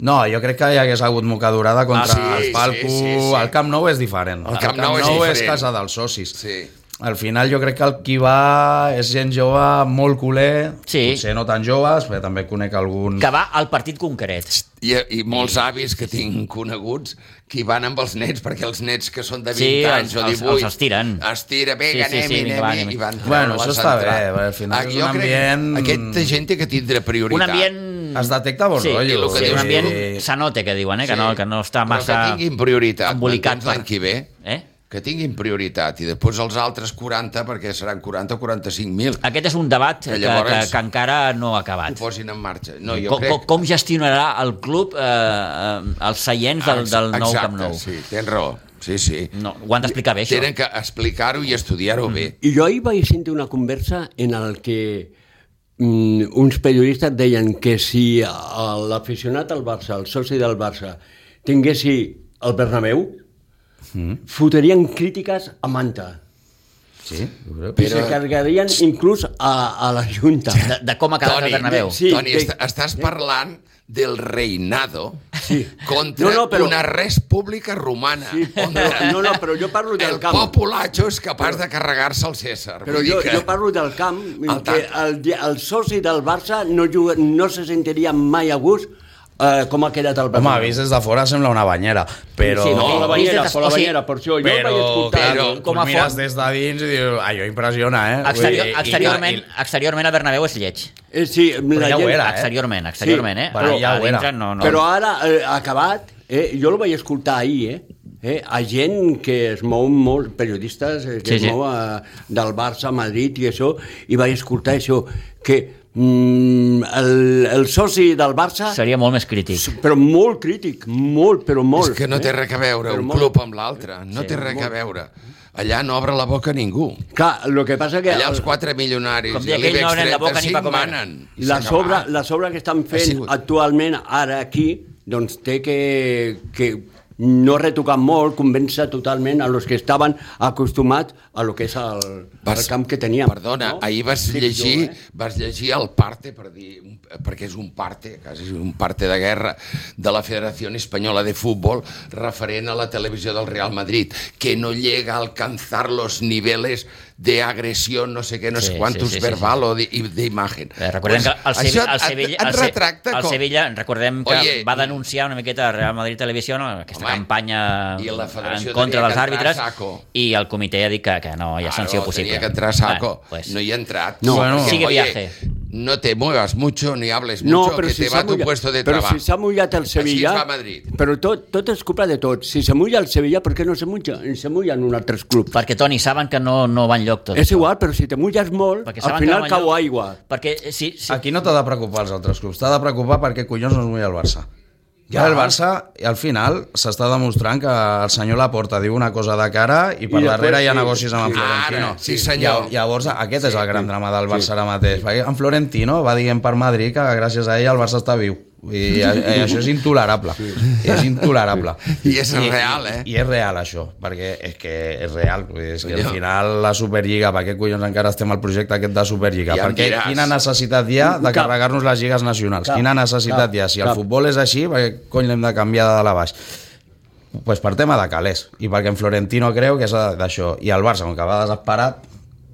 S3: No, jo crec que hi hagués hagut mocadurada
S1: Ah,
S3: contra ah,
S1: sí,
S3: sí, el
S2: sí,
S3: Palco.
S2: sí, sí.
S3: El Camp Nou és diferent.
S2: El Camp Nou és
S3: és
S2: diferent.
S3: casa dels socis.
S2: Sí.
S3: Al final jo crec que el qui va és gent jove, molt culer,
S1: Sí.
S3: potser no tan joves, perquè també conec algun...
S1: que va al partit concret.
S2: I, I molts avis que tinc coneguts que hi van amb els nets, perquè els nets que són de 20
S1: Sí,
S2: anys o
S1: els- els-
S2: 18...
S1: els estiren.
S2: Estira, vinga,
S1: Sí, sí, sí,
S2: anem-hi,
S1: vinga,
S2: anem-hi,
S1: va, anem-hi.
S2: i van treure
S3: Bueno,
S2: la
S3: això està
S2: central.
S3: bé, perquè al final és
S2: jo
S3: un
S2: crec que
S3: ambient-
S2: Aquesta gent té que
S1: Un
S2: tindre prioritat.
S1: ambient...
S3: Es detecta bon
S1: Mm. sí,
S3: rotllo,
S1: Sí,
S2: vull
S1: un ambient
S3: dir.
S1: sanote, que diuen, eh? Que, no, que no està massa...
S2: Però que tinguin prioritat.
S1: embolicat
S2: m'entens,
S1: per-
S2: L'any que ve...
S1: Eh?
S2: que tinguin prioritat i després els altres 40, perquè seran 40 o 45.000,
S1: Aquest és un debat que,
S2: Que
S1: llavors... que,
S2: llavors-
S1: que encara no ha
S2: ho
S1: acabat.
S2: posin en marxa. No, jo
S1: Com,
S2: crec...
S1: com, com gestionarà el club eh, eh, els seients del, del nou
S2: Exacte,
S1: Camp Nou? Mm.
S2: sí, tens raó. Sí, sí.
S1: No, ho han d'explicar bé, això.
S2: Tenen que explicar-ho i estudiar-ho
S1: Mm.
S2: bé.
S4: I jo ahir vaig sentir una conversa en el que mm, uns periodistes deien que si l'aficionat al Barça, el soci del Barça, tinguessi el Bernabéu, mm. fotrien crítiques a Manta.
S3: Sí, ho crec.
S4: Però... I se cargarien inclús a, a la Junta.
S1: De, de com ha quedat
S2: Toni,
S1: el Bernabéu.
S4: sí,
S2: Toni,
S4: sí.
S2: est estàs parlant del reinado
S4: Sí.
S2: contra
S4: No, no, però-
S2: una res pública romana.
S4: Sí, però, no, no, però jo parlo del
S2: el
S4: camp.
S2: populatxo és capaç de carregar-se el César.
S4: Però
S2: Vull
S4: jo,
S2: dir que...
S4: jo parlo del camp,
S2: Al
S4: el que el, di- el soci del Barça no, juga, no se sentiria mai a gust eh, com ha quedat el
S3: Home,
S4: Barça.
S3: vist des de fora sembla una banyera, però...
S4: Sí, sí, no,
S2: No,
S4: la banyera,
S1: vist des-
S4: per la
S1: o sigui,
S4: banyera, per això jo
S3: però,
S4: vaig escoltar.
S3: però,
S1: però com
S3: com
S1: a
S3: a mires
S1: font-
S3: des de dins i dius, allò impressiona, eh? Vull
S1: Exterior,
S3: dir, i- i-
S1: exteriorment,
S3: i-
S1: exteriorment el Bernabéu és lleig.
S4: Eh, sí, la
S3: ja ho
S4: gent-
S3: era, eh?
S1: Exteriorment, exteriorment, eh?
S3: però ja ho era.
S1: dintre No, no.
S4: Però ara, eh, acabat, eh, jo el vaig escoltar ahir, eh? Eh, a gent que es mou molt, periodistes eh, que
S1: Sí,
S4: sí, es
S1: sí.
S4: mou a, del Barça a Madrid i això, i vaig escoltar això, que mm, el, el soci del Barça,
S1: Seria molt més crític.
S4: però molt crític, molt, però molt.
S2: És que no té
S4: eh?
S2: res a veure
S4: Però
S2: un
S4: molt.
S2: club amb l'altre, no té res a veure. allà no obre la boca ningú.
S4: Clar, el que passa que...
S2: Allà els
S4: el-
S2: quatre milionaris
S1: Com
S2: i
S1: deia aquell, no
S2: l'IBEX
S1: obren la boca ni
S2: 35
S1: pa comer.
S2: manen. I
S4: la
S2: s'ha
S4: sobra,
S2: acabat.
S4: la sobra que estan
S2: Ha
S4: fent
S2: sigut.
S4: actualment ara aquí, doncs té que, que no retocar molt, convèncer totalment a los que estaven acostumats a lo que és el, el camp que teníem.
S2: Perdona,
S4: no?
S2: ahir vas
S4: Sí, jo,
S2: llegir,
S4: eh?
S2: vas llegir el parte, per dir, un- perquè és un parte, quasi és un parte de guerra, de la Federació Espanyola de Futbol referent a la televisió del Real Madrid, que no llega a alcanzar los niveles de agressió, no sé què, no
S1: Sí,
S2: sé quantos,
S1: sí, sí, sí,
S2: verbal o de- i d'imagen.
S1: Eh, recordem que el, Sevi
S2: això
S1: el
S2: et-
S1: Sevilla...
S2: Et,
S1: el
S2: et
S1: Se-
S2: retracta
S1: el
S2: com...
S1: Sevilla, recordem que
S2: Oye,
S1: va
S2: i-
S1: denunciar una miqueta a Real Madrid Televisió no? aquesta
S2: Home,
S1: campanya
S2: i la Federació
S1: en contra
S2: tenia
S1: dels
S2: que entrar a
S1: àrbitres
S2: saco.
S1: i el comitè ha dit que, que no hi ha sanció
S2: Claro,
S1: possible.
S2: Tenia que entrar a saco.
S1: Bueno, pues,
S2: No hi ha entrat.
S4: No,
S3: Bueno.
S2: perquè,
S1: sigue
S2: oye,
S1: viaje.
S2: No te muevas mucho ni hables
S4: No,
S2: mucho,
S4: però
S2: que
S4: si
S2: te
S4: s'ha
S2: va tu
S4: mullat-
S2: puesto de
S4: però
S2: trabajo.
S4: si s'ha mullat el
S2: Així es
S4: Sevilla...
S2: va a Madrid.
S4: Però tot, tot és culpa de tot. Si se mulla el Sevilla, per què no se mulla, se mulla en un altre club?
S1: Perquè, Toni, saben que no, no va enlloc tot.
S4: És igual, però si te mulles molt,
S1: Perquè
S4: al
S1: saben
S4: final
S1: que no va
S4: cau
S1: enlloc.
S4: aigua.
S1: Perquè, eh, sí, sí.
S3: Aquí no t'ha de preocupar els altres clubs, t'ha de preocupar perquè collons no es mulla el Barça. Ja. El Barça, i al final, s'està demostrant que el senyor Laporta diu una cosa de cara i per I
S4: I
S3: darrere
S4: després
S3: hi ha
S4: sí.
S3: negocis amb en
S4: Sí.
S3: Florentino.
S2: Ara, sí, senyor.
S3: Llav- Llavors, aquest és el gran drama del Barça ara mateix. Perquè en Florentino va dient per Madrid que gràcies a ell el Barça està viu. I, a- i això és intolerable. És intolerable.
S2: I és real, eh?
S3: I és real, això, perquè és que és real. vull dir, És que al final la Superliga, per què collons encara estem al projecte aquest de Superliga?
S2: Ja em
S3: perquè
S2: diràs.
S3: quina necessitat hi ha de
S4: Cap.
S3: carregar-nos les lligues nacionals?
S4: Cap,
S3: Quina necessitat
S4: cap,
S3: hi ha? Si
S4: cap.
S3: el futbol és així, per què cony l'hem de canviar de dalt a baix? pues per tema de calés, i perquè en Florentino creu que és d'això. I el Barça, com que va desesperat,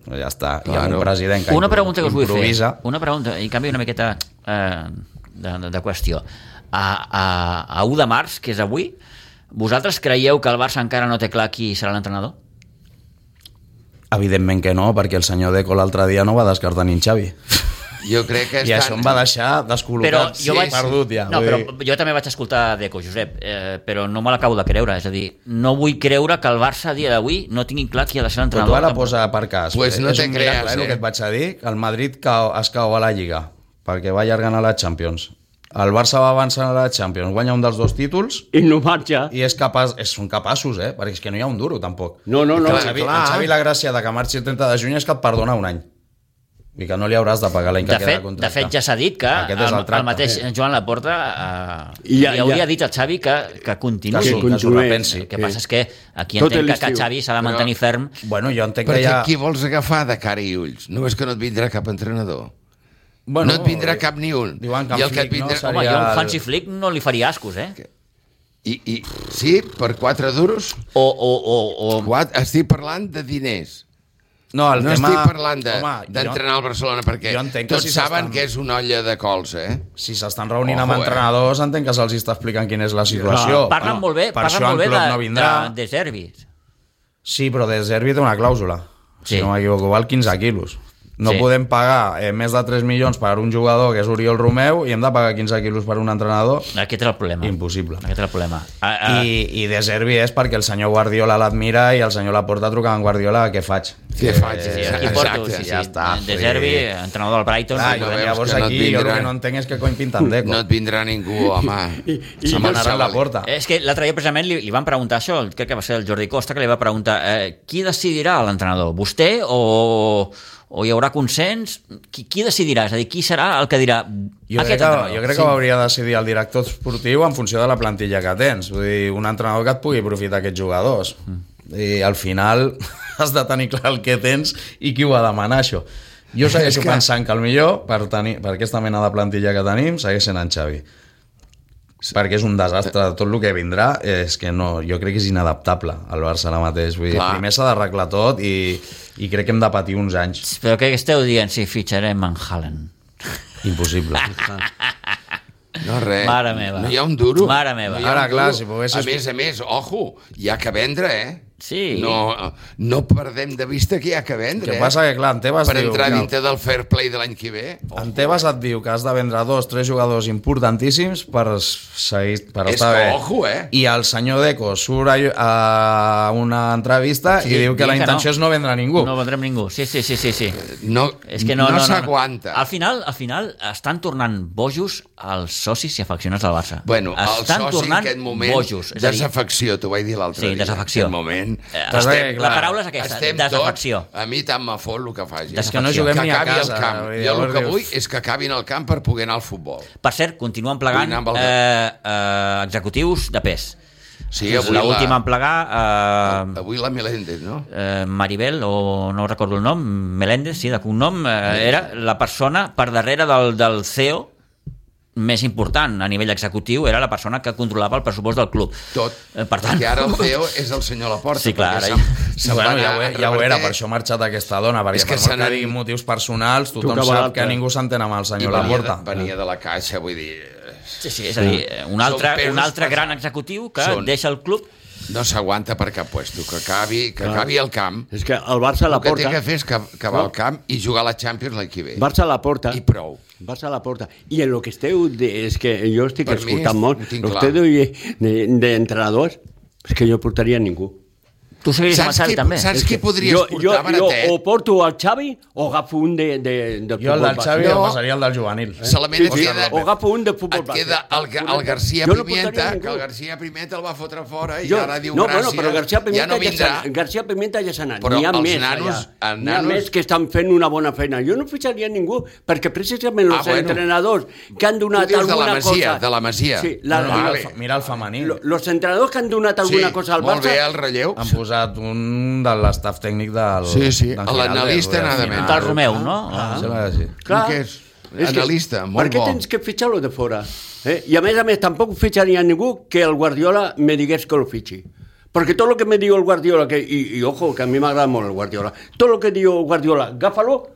S3: doncs ja està. Hi ha
S2: Claro.
S3: un president que
S1: Una
S3: impro-
S1: pregunta que us vull
S3: improvisa.
S1: fer. Una pregunta, i en canvi una miqueta eh, de, de, de qüestió. A, a, a 1 de març, que és avui, vosaltres creieu que el Barça encara no té clar qui serà l'entrenador?
S3: Evidentment que no, perquè el senyor Deco l'altre dia no va descartar ni en Xavi.
S2: Jo crec que
S3: I
S2: estan...
S3: això em va deixar descol·locat,
S1: Però jo
S3: sí,
S1: vaig-
S3: perdut ja.
S1: No,
S3: vull
S1: però
S3: dir-
S1: jo també vaig escoltar Deco, Josep, eh, però no me l'acabo de creure. És a dir, no vull creure que el Barça a dia d'avui no tingui clar qui ha de ser
S3: Però tu
S1: l'entrenador.
S3: ara posa per cas.
S2: Pues no
S3: és
S2: te
S3: un miracle,
S2: creas,
S3: eh?
S2: eh?
S3: El que et vaig a dir, que el Madrid cau, es cau a la Lliga perquè va allargant a la Champions. El Barça va avançant a la Champions, guanya un dels dos títols
S4: I no marxa.
S3: i és capaç, és, són capaços, eh? Perquè és que no hi ha un duro, tampoc.
S4: No, no, no,
S3: el
S2: Clar,
S3: Xavi,
S2: clar.
S3: El Xavi la gràcia de que marxi el 30 de juny és que et perdona un any. I que no li hauràs de pagar l'any que
S1: de
S3: queda
S1: fet,
S3: de
S1: de
S3: contracte.
S1: fet, ja s'ha dit que
S3: Aquest
S1: el,
S3: és el
S1: el,
S3: tracte.
S1: mateix Joan Laporta eh,
S4: I ja-
S1: li hauria
S4: ja-
S1: dit a Xavi que, que
S3: Que,
S1: continuï.
S3: sí, que s'ho
S4: continuï.
S3: repensi.
S1: El que
S4: Sí.
S1: passa és que aquí
S4: Tot
S1: entenc que, que
S4: l'estiu.
S1: Xavi s'ha de mantenir ferm.
S3: Bueno, jo entenc que
S2: Perquè
S3: ja...
S2: qui vols agafar de cara i ulls? No és que no et vindrà cap entrenador.
S3: Bueno, eh,
S2: no et
S1: eh,
S2: vindrà cap ni un.
S3: Diuen que
S2: I
S3: en
S2: el que et
S3: Flick no
S2: vindrà...
S3: seria-
S1: Home, jo a un
S3: el-
S1: Hansi Flick no li faria ascos, eh?
S2: I, i, sí, per quatre duros?
S1: O, o, o, o...
S2: What? Estic parlant de diners.
S3: No, el
S2: no
S3: tema...
S2: estic parlant de-
S3: Home, jo-
S2: d'entrenar de, el Barcelona, perquè
S3: jo entenc que
S2: tots
S3: si
S2: saben
S3: s'estan-
S2: que és una olla de cols, eh?
S3: si s'estan reunint amb
S2: Ojo, eh?
S3: entrenadors, entenc que se'ls està explicant quina és la situació.
S1: Parlen
S3: Bueno,
S1: molt bé,
S3: per
S1: parlen
S3: això
S1: molt bé
S3: en Klopp
S1: de,
S3: no vindrà.
S1: de, de Servis.
S3: Sí, però de Zerbi té una clàusula.
S1: Sí.
S3: Si no m'equivoco, val 15 quilos. No
S1: Sí.
S3: podem pagar eh, més de 3 milions per un jugador que és Oriol Romeu i hem de pagar 15 quilos per un entrenador.
S1: Aquest era el problema.
S3: Impossible.
S1: Aquest era el problema. A, a, I...
S3: I, I de Zerbi és perquè el senyor Guardiola l'admira i el senyor Laporta truca a en Guardiola què faig.
S2: Què faig? eh?
S1: Sí,
S2: Exacte.
S1: aquí porto, sí, sí.
S3: ja està,
S1: De
S3: sí.
S1: Servi, entrenador del Brighton.
S3: Clar,
S2: Sí,
S3: jo,
S2: no veus
S3: Ah, llavors
S2: que no et
S3: aquí jo el
S2: vindrà.
S3: que no entenc és que cony
S1: <laughs>
S3: pinten Deco.
S2: No et vindrà ningú, home.
S4: i-
S2: Se
S3: Se m'anarà a la
S2: m'anarà
S3: porta.
S1: És que l'altre dia precisament li, li van preguntar això, crec que va ser el Jordi Costa que li va preguntar eh, qui decidirà l'entrenador, vostè o, o hi haurà consens? Qui, qui decidirà? És a dir, qui serà el que dirà
S3: Jo crec,
S1: aquest
S3: que,
S1: entrenador?
S3: jo crec que ho hauria de decidir el director esportiu en funció de la plantilla que tens. Vull dir, un entrenador que et pugui aprofitar aquests jugadors.
S2: Mm.
S3: I al final <laughs> has de tenir clar el que tens i qui ho ha de manar, això. Jo segueixo
S2: que-
S3: que... pensant que el millor per, tenir, per aquesta mena de plantilla que tenim segueix sent en Xavi. Perquè és un desastre. Tot el que vindrà és que no, jo crec que és inadaptable al Barça ara mateix. Vull dir,
S2: Clar.
S3: primer s'ha d'arreglar tot i, i crec que hem de patir uns anys.
S1: Però què esteu dient si fitxarem en Haaland?
S3: Impossible.
S2: No, res.
S1: Mare meva.
S2: No hi ha un duro.
S1: Mare meva.
S2: No eh? hi ha
S3: Ara,
S2: un
S3: clar,
S2: duro.
S3: si poguessis-
S2: A més, a més, ojo, hi ha que vendre, eh?
S1: Sí.
S2: No, no perdem de vista que hi ha que vendre,
S3: que passa
S2: eh?
S3: que, clar, en Tebas
S2: Per
S3: diu...
S2: entrar
S3: que-
S2: dintre del fair play de l'any que ve.
S3: En Tebas et diu que has de vendre dos, tres jugadors importantíssims per, seguir, per
S2: És
S3: estar
S2: que
S3: bé.
S2: ojo, eh?
S3: I el senyor Deco surt a, a una entrevista
S1: Sí,
S3: sí, i diu
S1: diu
S3: que la
S1: que no.
S3: intenció no. és no vendre ningú.
S1: No
S3: No,
S1: vendrem ningú. Sí, sí, sí, sí. sí.
S2: No,
S1: És que no, no, no,
S2: s'aguanta.
S1: Al final, al final estan tornant bojos els socis i afeccionats del Barça.
S2: Bueno, el
S1: estan
S2: soci en
S1: tornant
S2: aquest moment,
S1: bojos. És a dir,
S2: desafecció, t'ho vaig dir l'altre
S1: Sí,
S2: dia.
S1: desafecció. Eh,
S2: En aquest moment evidentment.
S1: Estem- la paraula és aquesta, desafecció.
S2: Tots, a mi tant me fot el que faci.
S1: És que no juguem
S2: que
S3: ni a
S2: acabi
S3: casa,
S2: El camp.
S3: vull
S2: Jo
S3: dir,
S2: el
S3: llavors
S2: que
S3: dius-
S2: vull és que acabin el camp per poder anar al futbol.
S1: Per cert, continuen plegant
S2: Vull anar amb el
S1: eh, eh, executius de pes.
S2: Sí,
S1: És
S2: avui
S1: L'última
S2: la,
S1: en plegar, eh,
S2: avui la Meléndez, no?
S1: eh, Maribel, o no recordo el nom, Meléndez, sí, de cognom, eh, era la persona per darrere del, del CEO més important a nivell executiu, era la persona que controlava el pressupost del club.
S2: Tot.
S1: Eh, per tant,
S2: Que ara el CEO és el senyor Laporta.
S1: Sí, clar, ara
S2: perquè se'n- se'n va
S3: Bueno, ja, ho,
S2: anar a
S3: ja ho era,
S2: Reverter.
S3: per això ha marxat aquesta dona, perquè
S2: És que
S3: per
S2: se
S3: molt que
S2: n'han-
S3: digui motius personals, tothom
S4: Tocava
S3: sap
S4: l'altre.
S3: que ningú s'entén amb el
S2: I
S3: senyor
S2: venia,
S3: Laporta.
S2: de, venia de la caixa, vull dir...
S1: Sí, sí, és a dir, un altre,
S2: Són pesos
S1: un altre
S2: pesats.
S1: gran executiu que
S2: Són.
S1: deixa el club
S2: No s'aguanta per cap puesto, que acabi, que acabi el camp.
S4: És que el Barça a la
S2: El que té
S4: porta...
S2: que fer és que, que va al camp i jugar a la Champions l'any que ve.
S4: Barça a la porta.
S2: I prou.
S4: Barça a la porta. I en el que esteu... De, és que jo estic
S2: Per mi
S4: escoltant
S2: és-
S4: molt.
S2: ho tinc
S4: El que
S2: clar.
S4: esteu de- de- d'entrenadors és que jo portaria ningú.
S1: Tu seguiris amb el
S2: Saps
S1: Xavi
S2: qui,
S1: també.
S2: saps qui podries
S4: jo,
S2: portar,
S4: jo, jo
S2: Baratet?
S4: o porto el Xavi o agafo un de, de, de
S3: Jo el del
S4: base.
S3: Xavi
S2: No.
S3: el passaria al del juvenil.
S2: Solament et
S4: Eh? Sí, sí.
S2: queda...
S4: O agafo un de futbol
S2: Et queda
S4: base.
S2: el, Ga- el García
S4: Jo no
S2: Pimienta,
S4: portaria ningú.
S2: que el García Pimienta el va fotre fora i
S4: Jo,
S2: ara diu
S4: no,
S2: gràcies,
S4: bueno, però García Pimenta
S2: ja no vindrà.
S4: Ja s'ha- García Pimenta ja s'ha anat.
S2: Però
S4: N'hi ha
S2: els
S4: més
S2: nanos-
S4: allà.
S2: els
S4: N'hi ha
S2: nanos-
S4: més que estan fent una bona feina. Jo no fitxaria ningú, perquè precisament
S2: Ah,
S4: els
S2: bueno.
S4: entrenadors que han donat
S2: Tu dius de la
S4: alguna
S2: Masia,
S4: cosa...
S2: de la Masia.
S4: Sí,
S3: No,
S4: la,
S3: no,
S2: Ah,
S3: mira,
S2: vale.
S3: el, fe- mira el femení.
S4: lo- los entrenadors que han donat alguna cosa al
S2: molt
S4: Barça... Ah,
S2: bé el relleu.
S3: Han posat un de l'estaf tècnic del...
S2: Sí, sí, a
S3: d'en Giraldes,
S2: l'analista
S3: vull dir, al
S2: nada
S3: final.
S2: menys.
S1: Del Romeu, no?
S3: Ah,
S4: Ah.
S1: Ah.
S3: Em sembla que sí.
S2: Clar. Que és analista,
S4: que,
S2: molt
S4: per què
S2: bo.
S4: tens que fitxar-lo de fora? Eh? I a més a més, tampoc fitxaria ningú que el Guardiola me digués que lo fitxi. Perquè tot el que me diu el Guardiola, que, i, i ojo, que a mi m'agrada molt el Guardiola, tot el que diu el Guardiola, agafa-lo,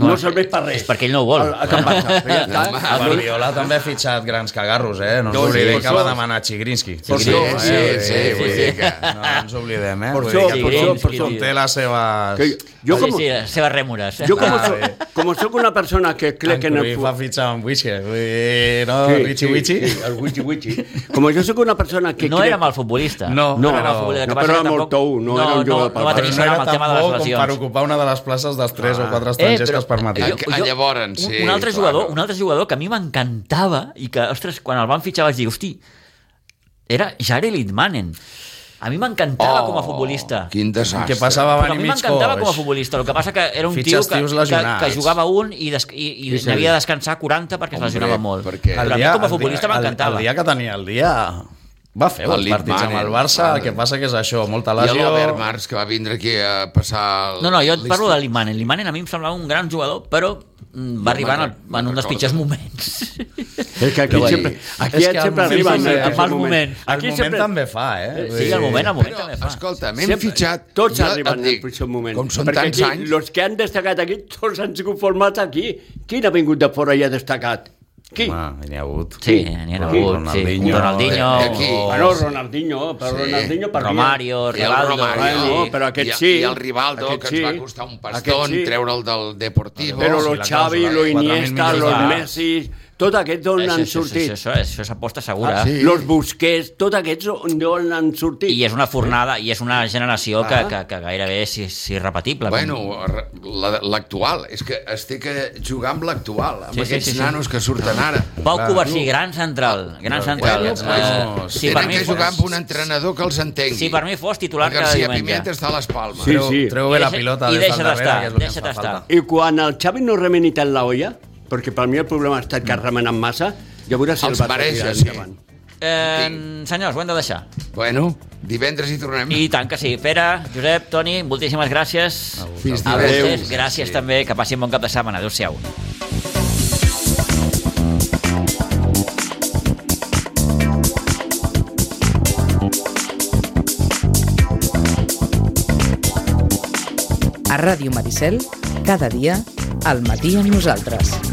S4: no serveix per res. Ah,
S1: és perquè ell no ho vol.
S4: A, a Can Barça. Ja està.
S2: Home,
S3: El Guardiola també Ah, ha fitxat grans cagarros, eh? No ens
S4: Jo, sí,
S3: oblidem
S4: per
S3: que va
S4: això-
S3: demanar Chigrinsky.
S2: Sí, sí,
S4: això-
S2: sí,
S3: eh? Vull
S2: sí,
S3: dir,
S2: vull dir que...
S3: No ens oblidem, eh?
S4: Por
S3: Vull
S4: això,
S3: dir que
S1: por
S3: tothom-
S1: això, por
S3: tothom
S1: això.
S3: té les seves...
S4: Que jo, jo
S1: sí,
S4: com,
S1: sí, eh, les seves rèmores.
S4: jo com,
S3: Ah,
S4: soc,
S3: bé.
S4: com soc una persona que crec que en el,
S3: Cruyff
S4: fu-
S3: va fitxar amb Witcher, vull dir, no? Witchy, Witchy.
S4: Sí, el Wichi Wichi. Com jo sóc una persona que
S1: No
S4: crec...
S1: era mal futbolista.
S3: No,
S1: no
S3: no,
S1: era mal futbolista. El que
S4: no,
S1: passa
S4: però
S1: que
S4: era molt
S1: tampoc-
S4: tou, no era un
S1: No,
S4: jugador pel
S1: no va
S4: Barça.
S1: tenir
S3: no
S1: sort
S3: era
S1: amb el
S3: tan
S1: tema de les
S3: bo com per
S1: lesions. Eh,
S3: ocupar una de les places dels tres o quatre estrangers que es permetien.
S2: jo- Ah, llavors,
S1: un-
S2: sí,
S1: un, altre
S2: clar.
S1: jugador, un altre jugador que a mi m'encantava i que, ostres, quan el van fitxar vaig dir, hosti, era Jared Litmanen. A mi m'encantava com a futbolista.
S2: Oh, Quin desastre.
S3: Que passava
S1: Però
S3: van
S1: a
S3: i
S1: mi
S3: mig
S1: m'encantava com a
S3: coix.
S1: futbolista, el que passa que era un
S3: Fitxes
S1: tio
S3: tios
S1: que, que,
S3: lesionats.
S1: que jugava un i, des, i, i
S2: Sí, sí.
S1: n'havia de descansar 40 perquè es
S2: Hombre,
S1: lesionava molt.
S2: perquè-
S1: Però a mi com a futbolista
S3: el-
S1: m'encantava.
S3: El dia que tenia el dia va fer
S2: El
S3: els partits amb
S2: Lippmann,
S3: el Barça, el
S2: Lippmann.
S3: que passa que és això, molta
S2: I
S3: lesió...
S2: l'Albert Mars, que va vindre aquí a passar... el-
S1: No, no, jo et
S2: l'estiu.
S1: parlo de l'Imanen. L'Imanen a mi em semblava un gran jugador, però mm, va arribar en, el,
S2: me'n
S1: en un dels
S2: recordo.
S1: pitjors moments.
S4: És que aquí
S2: Però,
S4: sempre, aquí
S3: és que al
S4: sempre
S3: moment
S4: arriba
S3: també-
S4: en
S3: al
S4: mal
S1: mal
S4: moment.
S1: moment.
S3: El moment també fa, eh? Vull
S1: Sí,
S3: dir,
S1: al moment, al moment
S2: Però,
S1: també fa.
S2: escolta, m'hem
S4: Sempre-
S2: fitxat...
S4: Tots
S2: jo
S4: arriben
S2: et
S4: en
S2: dic,
S4: el pitjor moment.
S2: Com són
S4: Perquè
S2: tants
S4: aquí,
S2: anys...
S4: Els que han destacat aquí, tots han sigut formats aquí. Qui n'ha vingut de fora i ha destacat? Qui?
S3: Home, n'hi ha hagut.
S1: Sí, n'hi ha
S3: Un
S1: hagut, sí. Un
S3: Ronaldinho,
S1: Ronaldinho,
S2: eh, aquí.
S1: o
S4: Bueno, Ronaldinho, però
S2: Sí.
S4: Ronaldinho per mi- eh.
S1: Romario,
S2: I el
S1: Rivaldo...
S2: Romario,
S4: Bueno, però aquest
S2: i,
S4: sí.
S2: I el Rivaldo,
S4: Aquest
S2: que ens
S4: sí.
S2: va costar un
S4: Aquest
S2: pastón
S4: sí.
S2: treure'l del Deportivo.
S4: Però
S3: Oh, Sí,
S4: lo
S3: la
S4: Xavi,
S3: causa,
S4: lo
S3: eh? 4.000
S4: Iniesta,
S3: milions
S4: lo
S3: de-
S4: Messi, tot aquests d'on
S1: Això, això,
S4: han
S1: això,
S4: sortit.
S1: això, això és aposta segura.
S2: Ah, sí.
S4: Los Busquets, tot aquests d'on han sortit.
S1: I és una fornada, i és una generació que,
S4: Ah.
S1: que, que gairebé és, és irrepetible.
S2: Bueno, re- la- l'actual. És que es té que jugar amb l'actual, amb
S1: Sí, sí,
S2: aquests
S1: sí, sí.
S2: nanos que surten ara.
S1: Pau Covarsí, gran central. Gran central.
S2: Bueno,
S1: Eh,
S2: pues,
S1: si, per
S2: tenen
S1: mi
S2: que jugar
S1: fos,
S2: amb un entrenador que els entengui.
S1: si per mi fos titular
S2: El
S1: cada
S2: García
S1: diumenge.
S2: Pimienta està a les Palmes.
S4: Sí,
S3: Treu,
S4: sí.
S3: treu bé
S1: I
S3: la
S1: deixa-
S3: pilota
S1: i
S3: des del
S1: deixa't
S3: darrere,
S1: estar,
S3: que és el que ens
S1: deixa't
S3: fa
S1: estar.
S3: falta.
S4: I quan el Xavi no remeni tant la olla, perquè per mi el problema ha estat que ha remenat massa, ja veuràs si
S2: Els
S4: el va
S2: mereix,
S4: tirar
S2: sí.
S4: endavant.
S1: Eh, senyors, ho hem de deixar.
S2: Bueno, divendres hi tornem.
S1: I tant que sí. Pere, Josep, Toni, moltíssimes gràcies.
S2: Fins
S1: A
S2: divendres.
S1: vostès, gràcies
S2: Sí.
S1: també. Que passin bon cap de setmana. Adéu-siau.
S5: A Ràdio Maricel, cada dia, al matí amb nosaltres.